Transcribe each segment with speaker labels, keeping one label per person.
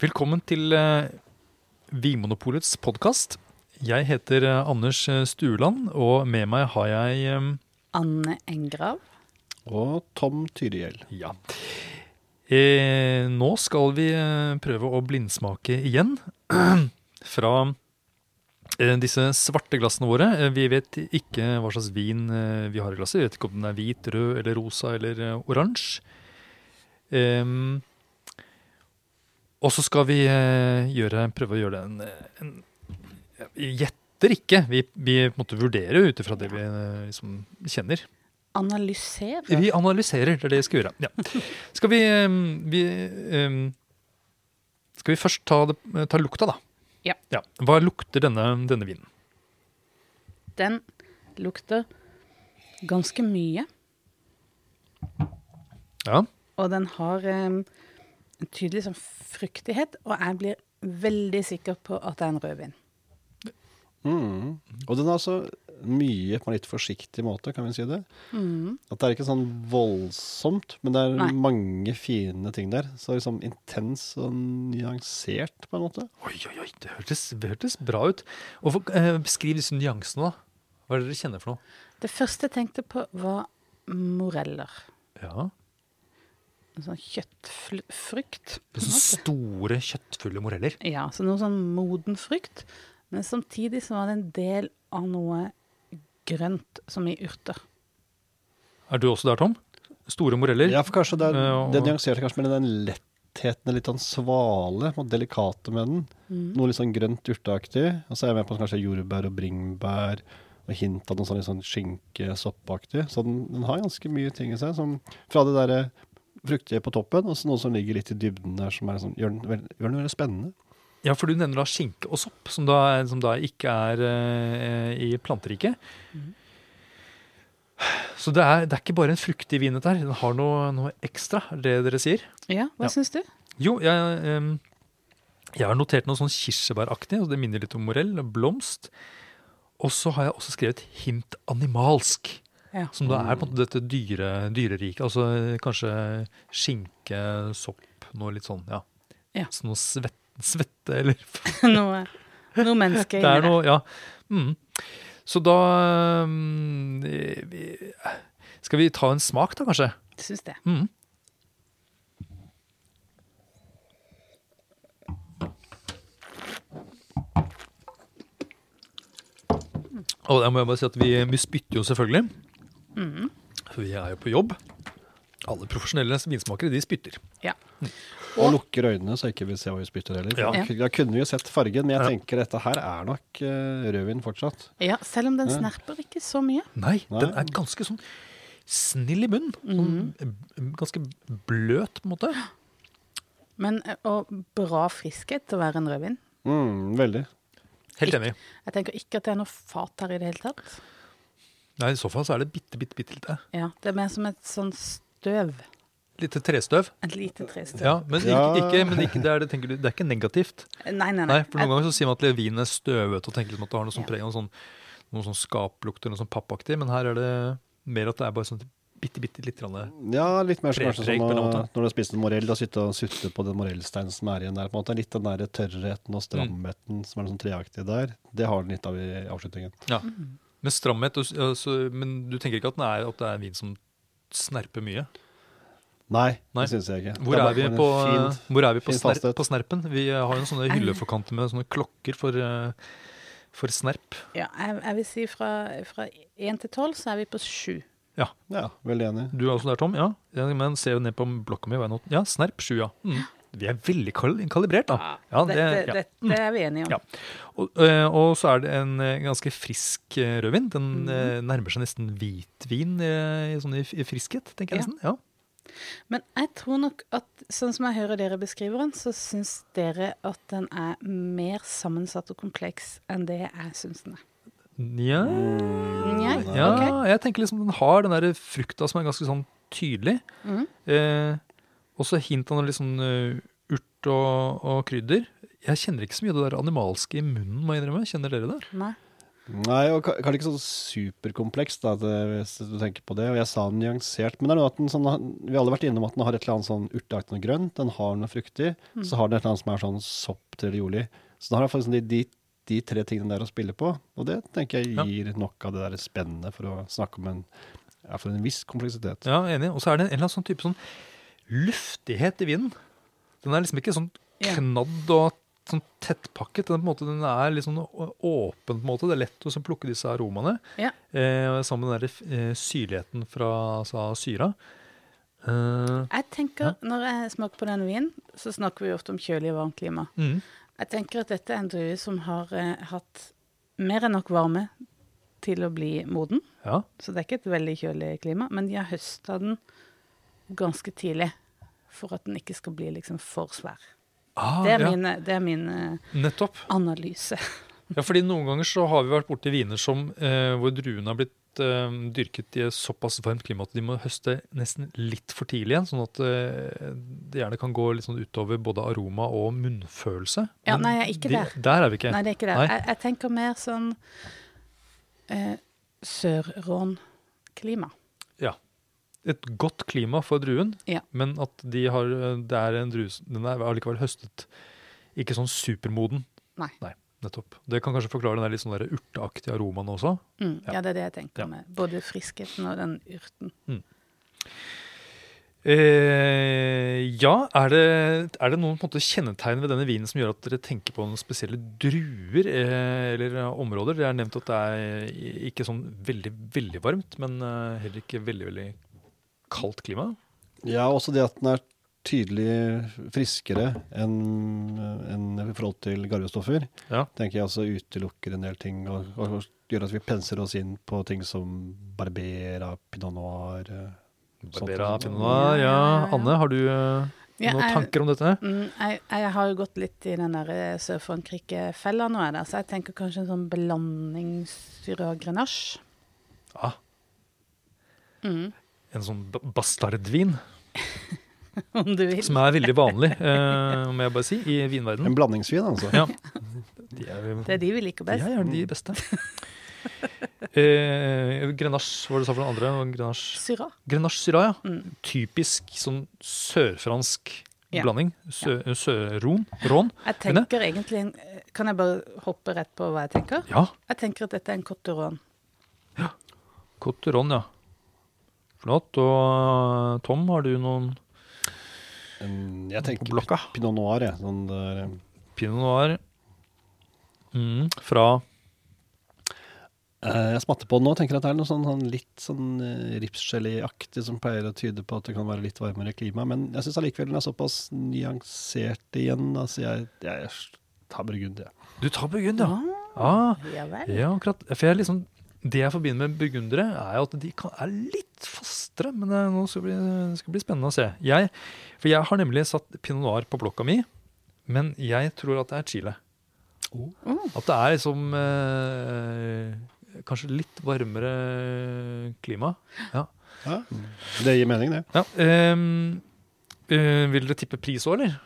Speaker 1: Velkommen til eh, Vinmonopolets podkast. Jeg heter eh, Anders eh, Stueland, og med meg har jeg eh,
Speaker 2: Anne Engrav.
Speaker 3: Og Tom Tyriell.
Speaker 1: Ja. Eh, nå skal vi eh, prøve å blindsmake igjen fra eh, disse svarte glassene våre. Eh, vi vet ikke hva slags vin eh, vi har i glasset. Vi vet ikke om den er hvit, rød eller rosa eller eh, oransje. Ehm, og så skal vi eh, gjøre, prøve å gjøre det en, en ja, Vi gjetter ikke. Vi, vi på en måte vurderer ut ifra det vi eh, liksom, kjenner.
Speaker 2: Analysere.
Speaker 1: Vi analyserer, det er det jeg skal gjøre. Ja. Skal vi, ehm, vi ehm, Skal vi først ta, det, ta lukta, da?
Speaker 2: Ja.
Speaker 1: Hva lukter denne, denne vinen?
Speaker 2: Den lukter ganske mye,
Speaker 1: Ja.
Speaker 2: og den har em, en tydelig sånn fruktighet, og jeg blir veldig sikker på at det er en rødvin.
Speaker 3: Mm. Og den er altså mye på en litt forsiktig måte, kan vi si det. At det er ikke sånn voldsomt, men det er
Speaker 2: Nei.
Speaker 3: mange fine ting der. Så liksom intens og nyansert, på en måte.
Speaker 1: Oi, oi, oi, det hørtes, det hørtes bra ut. Og for, eh, beskriv disse nyansene, da. Hva er det dere kjenner for noe?
Speaker 2: Det første jeg tenkte på, var moreller.
Speaker 1: Ja.
Speaker 2: En sånn kjøttfrukt.
Speaker 1: Det er sånne store, kjøttfulle moreller.
Speaker 2: Ja, så noe sånn moden frukt. Men samtidig så var det en del av noe grønt, som i urter.
Speaker 1: Er du også der, Tom? Store moreller?
Speaker 3: Ja, for kanskje det, er,
Speaker 1: Ja, Eh, og-
Speaker 3: det nyanserte kanskje med den lettheten, litt sånn svale, og delikate med den. Noe litt sånn grønt urteaktig. Og så er jeg med på at kanskje jordbær og bringebær, og hint av noe sånn litt sånn skinke, soppaktig. Så den, den har ganske mye ting i seg, som fra det derre fruktige på toppen, og så noe som ligger litt i dybden der, som er sånn, gjør den veld- gjør den veldig spennende.
Speaker 1: Ja, for du nevner da skinke og sopp, som da, er- som da ikke er eh, i planteriket. Så det er, det er ikke bare en fruktig vin dette her, den har noe, noe ekstra, er det dere sier?
Speaker 2: Ja,
Speaker 1: Ja.
Speaker 2: hva syns du?
Speaker 1: Jo, jeg, em, jeg har notert noe sånn kirsebæraktig, og det minner litt om morell, og blomst. Og så har jeg også skrevet hint animalsk,
Speaker 2: Ja.
Speaker 1: som da er på en måte dette dyre, dyreriket, altså kanskje skinke, sopp, noe litt sånn, ja.
Speaker 2: Ja.
Speaker 1: Så noe svette, svette eller
Speaker 2: noe, noe menneske
Speaker 1: Det er
Speaker 2: inni
Speaker 1: noe, ja. Mm. Så da mm, eh, vi- Skal vi ta en smak, da, kanskje?
Speaker 2: det. Syns det.
Speaker 1: Mm. Og der må jeg bare si at vi, vi spytter jo selvfølgelig. Mm. For vi er jo på jobb. Alle profesjonelle vinsmakere, de spytter.
Speaker 2: Ja.
Speaker 3: Og lukker øynene, så jeg ikke vil se hva vi spytter heller.
Speaker 1: Ja.
Speaker 3: Da, da kunne vi jo sett fargen, men jeg
Speaker 1: Ja.
Speaker 3: tenker dette her er nok eh, rødvin fortsatt.
Speaker 2: ja, selv om den snerper ikke så mye.
Speaker 1: Nei,
Speaker 3: Nei.
Speaker 1: den er ganske sånn snill i munnen. Sånn, eh, Ganske bløt, på en måte.
Speaker 2: Men, eh, og bra friskhet til å være en rødvin.
Speaker 3: Mm, veldig.
Speaker 1: Helt
Speaker 2: Ikke-
Speaker 1: enig.
Speaker 2: Jeg tenker ikke at det er noe fat her i det hele tatt.
Speaker 1: Nei, I så fall så er det bitte, bitte, bitte lite.
Speaker 2: Ja, Det er mer som et sånn støv.
Speaker 1: Lite trestøv.
Speaker 2: Et lite trestøv.
Speaker 1: Ja, men ikke,
Speaker 3: Ja.
Speaker 1: ikke, men ikke det, er, det, tenker du, det er ikke negativt.
Speaker 2: Nei, nei, nei.
Speaker 1: Nei, for Noen ganger så sier man at vinen er støvete og tenker liksom at det har noe sånn
Speaker 2: Ja.
Speaker 1: preg av noe sånn, noe sånn skaplukt eller noe sånn pappaktig, men her er det mer at det er bare sånn bitte, bitte litt grann.
Speaker 3: Ja, litt mer som kanskje
Speaker 1: Prepreg
Speaker 3: sånn
Speaker 1: på en
Speaker 3: å-
Speaker 1: måte.
Speaker 3: når du har spist en morell, da sitte og sutte på den morellsteinen som er igjen der. på en måte. Litt den der tørrheten
Speaker 1: Mm.
Speaker 3: og stramheten som er sånn treaktig der, det har den litt av i avslutningen.
Speaker 1: Ja. Med Mm-hmm. stramhet, og, s- og så- men du tenker ikke at, den er, at det er en vin som snerper mye?
Speaker 3: Nei,
Speaker 1: Nei.
Speaker 3: det syns jeg ikke.
Speaker 1: Hvor
Speaker 3: Det
Speaker 1: er
Speaker 3: bare
Speaker 1: vi
Speaker 3: en
Speaker 1: på, eh,
Speaker 3: fin-
Speaker 1: hvor er vi på,
Speaker 3: fin
Speaker 1: sner,
Speaker 3: fasthet.
Speaker 1: på snerpen? Vi har jo sånne hylleforkanter med sånne klokker for, eh, for snerp.
Speaker 2: Ja, jeg, jeg vil si fra, fra 1 til 12 så er vi på 7.
Speaker 1: Ja.
Speaker 3: Ja, veldig enig.
Speaker 1: Du er også der, Tom? Ja, ja men ser jo ned på blokka mi. hva er nå- Ja, snerp 7, ja. Mm. Vi er veldig kal kalibrert, da. Ja, det,
Speaker 2: dette,
Speaker 1: ja.
Speaker 2: dette er vi enige om.
Speaker 1: Ja. Og, eh, og så er det en eh, ganske frisk eh, rødvin. Den
Speaker 2: Mm.
Speaker 1: eh, nærmer seg nesten hvitvin eh, i- sånn i, i friskhet, tenker jeg
Speaker 2: Ja.
Speaker 1: nesten. Ja.
Speaker 2: Men jeg tror nok at sånn som jeg hører dere beskriver den, så syns dere at den er mer sammensatt og kompleks enn det jeg syns den er.
Speaker 1: Ja,
Speaker 2: Nei?
Speaker 1: ja
Speaker 2: Mm. Ok.
Speaker 1: jeg tenker liksom den har den der frukta som er ganske sånn tydelig.
Speaker 2: Mhm.
Speaker 1: Eh, og så hint av noe litt sånn eh, urt og, og krydder. Jeg kjenner ikke så mye av det der animalske i munnen, må jeg innrømme. Kjenner dere det?
Speaker 2: Nei.
Speaker 3: Nei, og ka- kanskje ikke sånn superkomplekst, da, det, hvis du tenker på det. Og jeg sa nyansert, men det er noe at den sånn, vi har alle vært innom at den har et eller annet sånn urteaktig noe grønt, den har noe fruktig,
Speaker 1: Mm.
Speaker 3: så har den et eller annet som er sånn sopp til jordlig. Så den har i hvert fall liksom de, de, de tre tingene der å spille på, og det tenker jeg
Speaker 1: Ja.
Speaker 3: gir nok av det der spennende for å snakke om en, ja, for en viss kompleksitet.
Speaker 1: Ja, enig. Og så er det en eller annen sånn type sånn luftighet i vinen. Den er liksom ikke sånn
Speaker 2: Ja.
Speaker 1: knadd og sånn tettpakket. Den, er på en måte, den er litt sånn å- åpen på en måte. Det er lett å så plukke disse aromaene.
Speaker 2: Ja.
Speaker 1: Eh, sammen med den der, eh, syrligheten fra altså, syra. Eh,
Speaker 2: Jeg tenker, Når jeg smaker på denne vinen, så snakker vi jo ofte om kjølig og varmt klima.
Speaker 1: mm,
Speaker 2: Jeg tenker at dette er en drue som har eh, hatt mer enn nok varme til å bli moden.
Speaker 1: ja.
Speaker 2: Så det er ikke et veldig kjølig klima. Men de har høsta den ganske tidlig for at den ikke skal bli liksom for svær.
Speaker 1: Ah,
Speaker 2: Det er
Speaker 1: ja.
Speaker 2: min, det er min eh,
Speaker 1: Nettopp.
Speaker 2: analyse.
Speaker 1: Ja, fordi noen ganger så har vi vært borti viner som, eh, hvor druene har blitt eh, dyrket i et såpass varmt klima at de må høste nesten litt for tidlig igjen, sånn at eh, det gjerne kan gå litt sånn utover både aroma og munnfølelse.
Speaker 2: Ja,
Speaker 1: Men
Speaker 2: nei, jeg er ikke
Speaker 1: de-
Speaker 2: der.
Speaker 1: Der er vi ikke.
Speaker 2: Nei, det er ikke det.
Speaker 1: Nei.
Speaker 2: Jeg, jeg tenker mer sånn eh, Sør-Rån-klima.
Speaker 1: Et godt klima for druen,
Speaker 2: Ja.
Speaker 1: men at de har, det er en drue som- Den er allikevel høstet ikke sånn supermoden.
Speaker 2: Nei.
Speaker 1: Nettopp. Det kan kanskje forklare den der litt sånn der urteaktige aromaen også.
Speaker 2: Mm,
Speaker 1: Ja.
Speaker 2: ja. det er det jeg tenker
Speaker 1: Ja.
Speaker 2: med. Både friskheten og den urten.
Speaker 1: Eh, ja, er det, er det noen på en måte kjennetegn ved denne vinen som gjør at dere tenker på noen spesielle druer eh, eller eh, områder? Det er nevnt at det er i- ikke sånn veldig, veldig varmt, men eh, heller ikke veldig, veldig kaldt klima.
Speaker 3: Ja, også det at den er tydelig friskere enn enn i forhold til garvestoffer.
Speaker 1: Ja.
Speaker 3: Tenker jeg også utelukker en del ting, og, og, og gjør at vi penser oss inn på ting som Barbera, Pinot Noir eh, sånt.
Speaker 1: Barbera, Pinot Noir, ja. Anne, har du eh,
Speaker 2: Ja,
Speaker 1: noen
Speaker 2: jeg-
Speaker 1: tanker om dette?
Speaker 2: Mm, jeg, jeg har jo gått litt i den der eh, Sør-Frankrike-fella nå, jeg der, så jeg tenker kanskje en sånn blanding syre og grenache.
Speaker 1: Ja,
Speaker 2: Mm,
Speaker 1: en sånn ba- bastardvin,
Speaker 2: om du vil.
Speaker 1: som er veldig vanlig, eh, må jeg bare si, i vinverdenen.
Speaker 3: En blandingsvin, altså.
Speaker 1: Ja. De er jo
Speaker 2: Det er de vi liker
Speaker 1: De
Speaker 2: best.
Speaker 1: er gjerne de beste. eh, Grenache, hva var det du sa for den andre? Grenache,
Speaker 2: Syra.
Speaker 1: Grenache Syrah, ja.
Speaker 2: Mm.
Speaker 1: Typisk sånn sørfransk
Speaker 2: Ja.
Speaker 1: blanding. Sø- Sør-Ron. Rån.
Speaker 2: Jeg tenker egentlig en- eh, Kan jeg bare hoppe rett på hva jeg tenker?
Speaker 1: Ja,
Speaker 2: Jeg tenker at dette er en Cotteron.
Speaker 1: Cote Ron, ja. Flott. Og eh, Tom, har du noen
Speaker 3: En, jeg tenker
Speaker 1: Blokka.
Speaker 3: pi- Pinot Noir, jeg. Sånn der, eh,
Speaker 1: pinot noir mm, fra
Speaker 3: Eh, jeg smatter på den nå, tenker at det er noe sånn, sånn litt sånn eh, ripsgeléaktig som pleier å tyde på at det kan være litt varmere klima, men jeg syns allikevel den er såpass nyansert igjen. Altså jeg, jeg tar burgund, jeg.
Speaker 1: Du tar Burgund, ja. Ah,
Speaker 2: Ja vel.
Speaker 1: ja, akkurat. For jeg liksom, det jeg forbinder med burgundere, er jo at de kan, er litt fastere. Men det, nå skal det bli, det skal bli spennende å se. Jeg, for jeg har nemlig satt pinot noir på blokka mi, men jeg tror at det er Chile. At det er liksom eh, Kanskje litt varmere klima. Ja.
Speaker 3: Ja, Mm. det gir mening, det.
Speaker 1: ja ehm, eh, vil dere tippe pris òg, eller?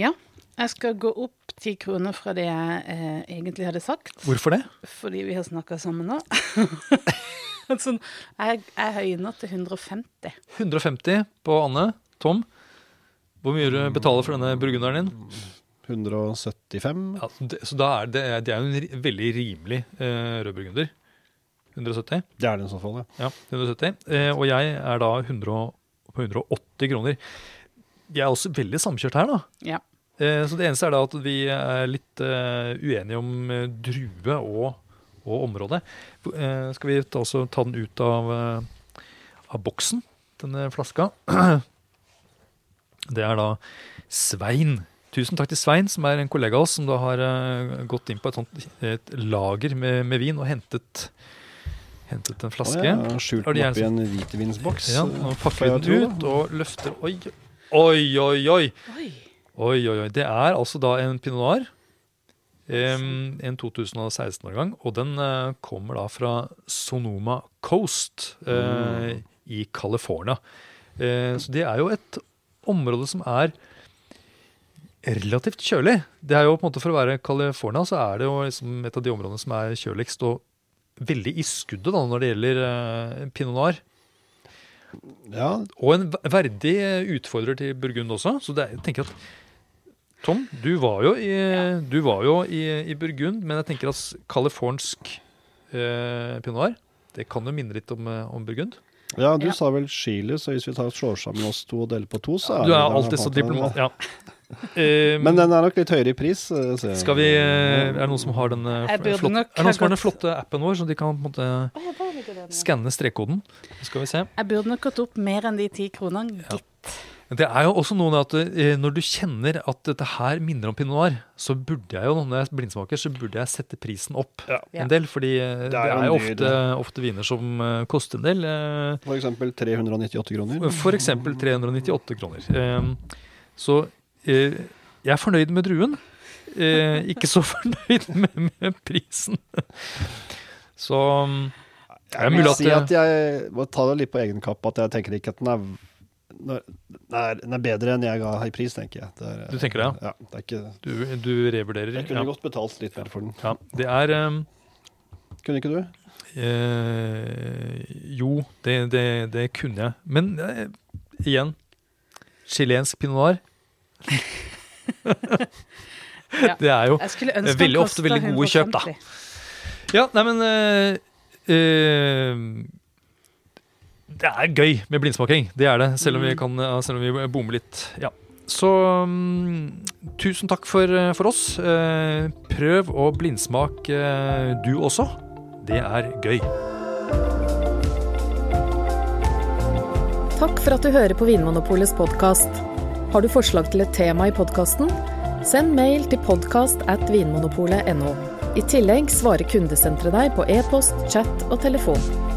Speaker 2: Ja. Jeg skal gå opp ti kroner fra det jeg eh, egentlig hadde sagt,
Speaker 1: Hvorfor det?
Speaker 2: fordi vi har snakka sammen nå. sånn, jeg, jeg høyner til 150.
Speaker 1: 150 på Anne. Tom, hvor mye du betaler for denne burgunderen din?
Speaker 3: 175.
Speaker 1: Ja, det, så da er det, det er jo en ri- veldig rimelig eh, rødburgunder. 170.
Speaker 3: Det er det i så fall, ja.
Speaker 1: Ja, 170. Eh, og jeg er da 100, og- på 180 kroner. Jeg er også veldig samkjørt her, da.
Speaker 2: Ja.
Speaker 1: Eh, så det eneste er da at vi er litt eh, uenige om eh, drue og, og område. Eh, skal vi ta, også ta den ut av, eh, av boksen, denne flaska? Det er da Svein. Tusen takk til Svein, som er en kollega av oss, som da har eh, gått inn på et, sånt, et lager med, med vin og hentet, hentet en flaske.
Speaker 3: Å, ja, Skjult
Speaker 1: Har de
Speaker 3: den oppi
Speaker 1: gjerne
Speaker 3: en hvitvinsboks. eh,
Speaker 1: Ja, nå pakker vi den ut og løfter Oi, oi, oi! Oi,
Speaker 2: Oi.
Speaker 1: oi, oi. oi. Det er altså da en pinot noir. em, en 2016-årgang. Og den eh, kommer da fra Sonoma Coast eh, i California. Eh, så det er jo et område som er relativt kjølig. Det er jo på en måte For å være California så er det jo liksom et av de områdene som er kjøligst og veldig i skuddet da, når det gjelder eh, pinot noir.
Speaker 3: Ja,
Speaker 1: Og en ver- verdig eh, utfordrer til Burgund også. Så det er, jeg tenker at Tom, du var jo i, du var jo i, i Burgund, men jeg tenker at californsk eh, pinot noir det kan jo minne litt om, eh, om Burgund.
Speaker 3: ja du
Speaker 2: Ja.
Speaker 3: sa vel chili, så hvis vi tar slår sammen oss to og deler på to, så
Speaker 1: Du er
Speaker 3: det-
Speaker 1: alltid så diplomat. Ja. Eh,
Speaker 3: Men den er nok litt høyere i pris. eh, så-
Speaker 1: skal vi, eh, er det noen som har den, eh,
Speaker 2: Jeg burde
Speaker 1: flott-
Speaker 2: nok
Speaker 1: er det noen som har
Speaker 2: ha
Speaker 1: den
Speaker 2: gått-
Speaker 1: flotte appen vår, så de kan på en måte skanne strekkoden? Skal vi se.
Speaker 2: Jeg burde nok gått opp mer enn de ti kronene, gitt.
Speaker 1: Det er jo også noe med at eh, når du kjenner at dette her minner om pinot noir, så burde jeg jo, når jeg blindsmaker, så burde jeg sette prisen opp
Speaker 3: Ja.
Speaker 2: Ja.
Speaker 1: en del. Fordi eh,
Speaker 3: Det
Speaker 1: det
Speaker 3: er
Speaker 1: er, jo
Speaker 3: jo en dyr,
Speaker 1: ofte, ofte viner som eh, koster en del. eh,
Speaker 3: For eksempel 398 kroner.
Speaker 1: For eksempel 398 kroner. Eh, Så eh, jeg er fornøyd med druen. eh, Ikke så fornøyd med, med prisen. Så mm, det er
Speaker 3: Jeg
Speaker 1: mulig
Speaker 3: vil
Speaker 1: at eh,
Speaker 3: si at
Speaker 1: det-
Speaker 3: jeg må ta det litt på egen kapp, at jeg tenker ikke at den er den er- den er bedre enn jeg ga i pris, tenker jeg. Det er,
Speaker 1: Du tenker det,
Speaker 3: ja? det er ikke,
Speaker 1: du, du revurderer.
Speaker 3: jeg kunne
Speaker 1: Ja.
Speaker 3: godt betalt litt mer for den.
Speaker 1: Ja, det er eh,
Speaker 3: Kunne ikke du?
Speaker 1: Eh, jo, det, det, det kunne jeg. Men eh, igjen Chilensk pinot noir.
Speaker 2: Ja.
Speaker 1: Det er jo
Speaker 2: Jeg skulle ønske den
Speaker 1: Veldig ofte
Speaker 2: kostet
Speaker 1: veldig gode kjøp, da.
Speaker 2: 150.
Speaker 1: Ja, nei, men eh, eh, Det er gøy med blindsmaking. Det er det. Selv om vi, kan, ja, selv om vi bommer litt. Ja. Så mm, tusen takk for, eh, for oss. Eh, prøv å blindsmake eh, du også. Det er gøy.
Speaker 4: Takk for at du hører på Vinmonopolets podkast. Har du forslag til et tema i podkasten? Send mail til podkast at vinmonopolet.no. I tillegg svarer kundesenteret deg på e-post, chat og telefon.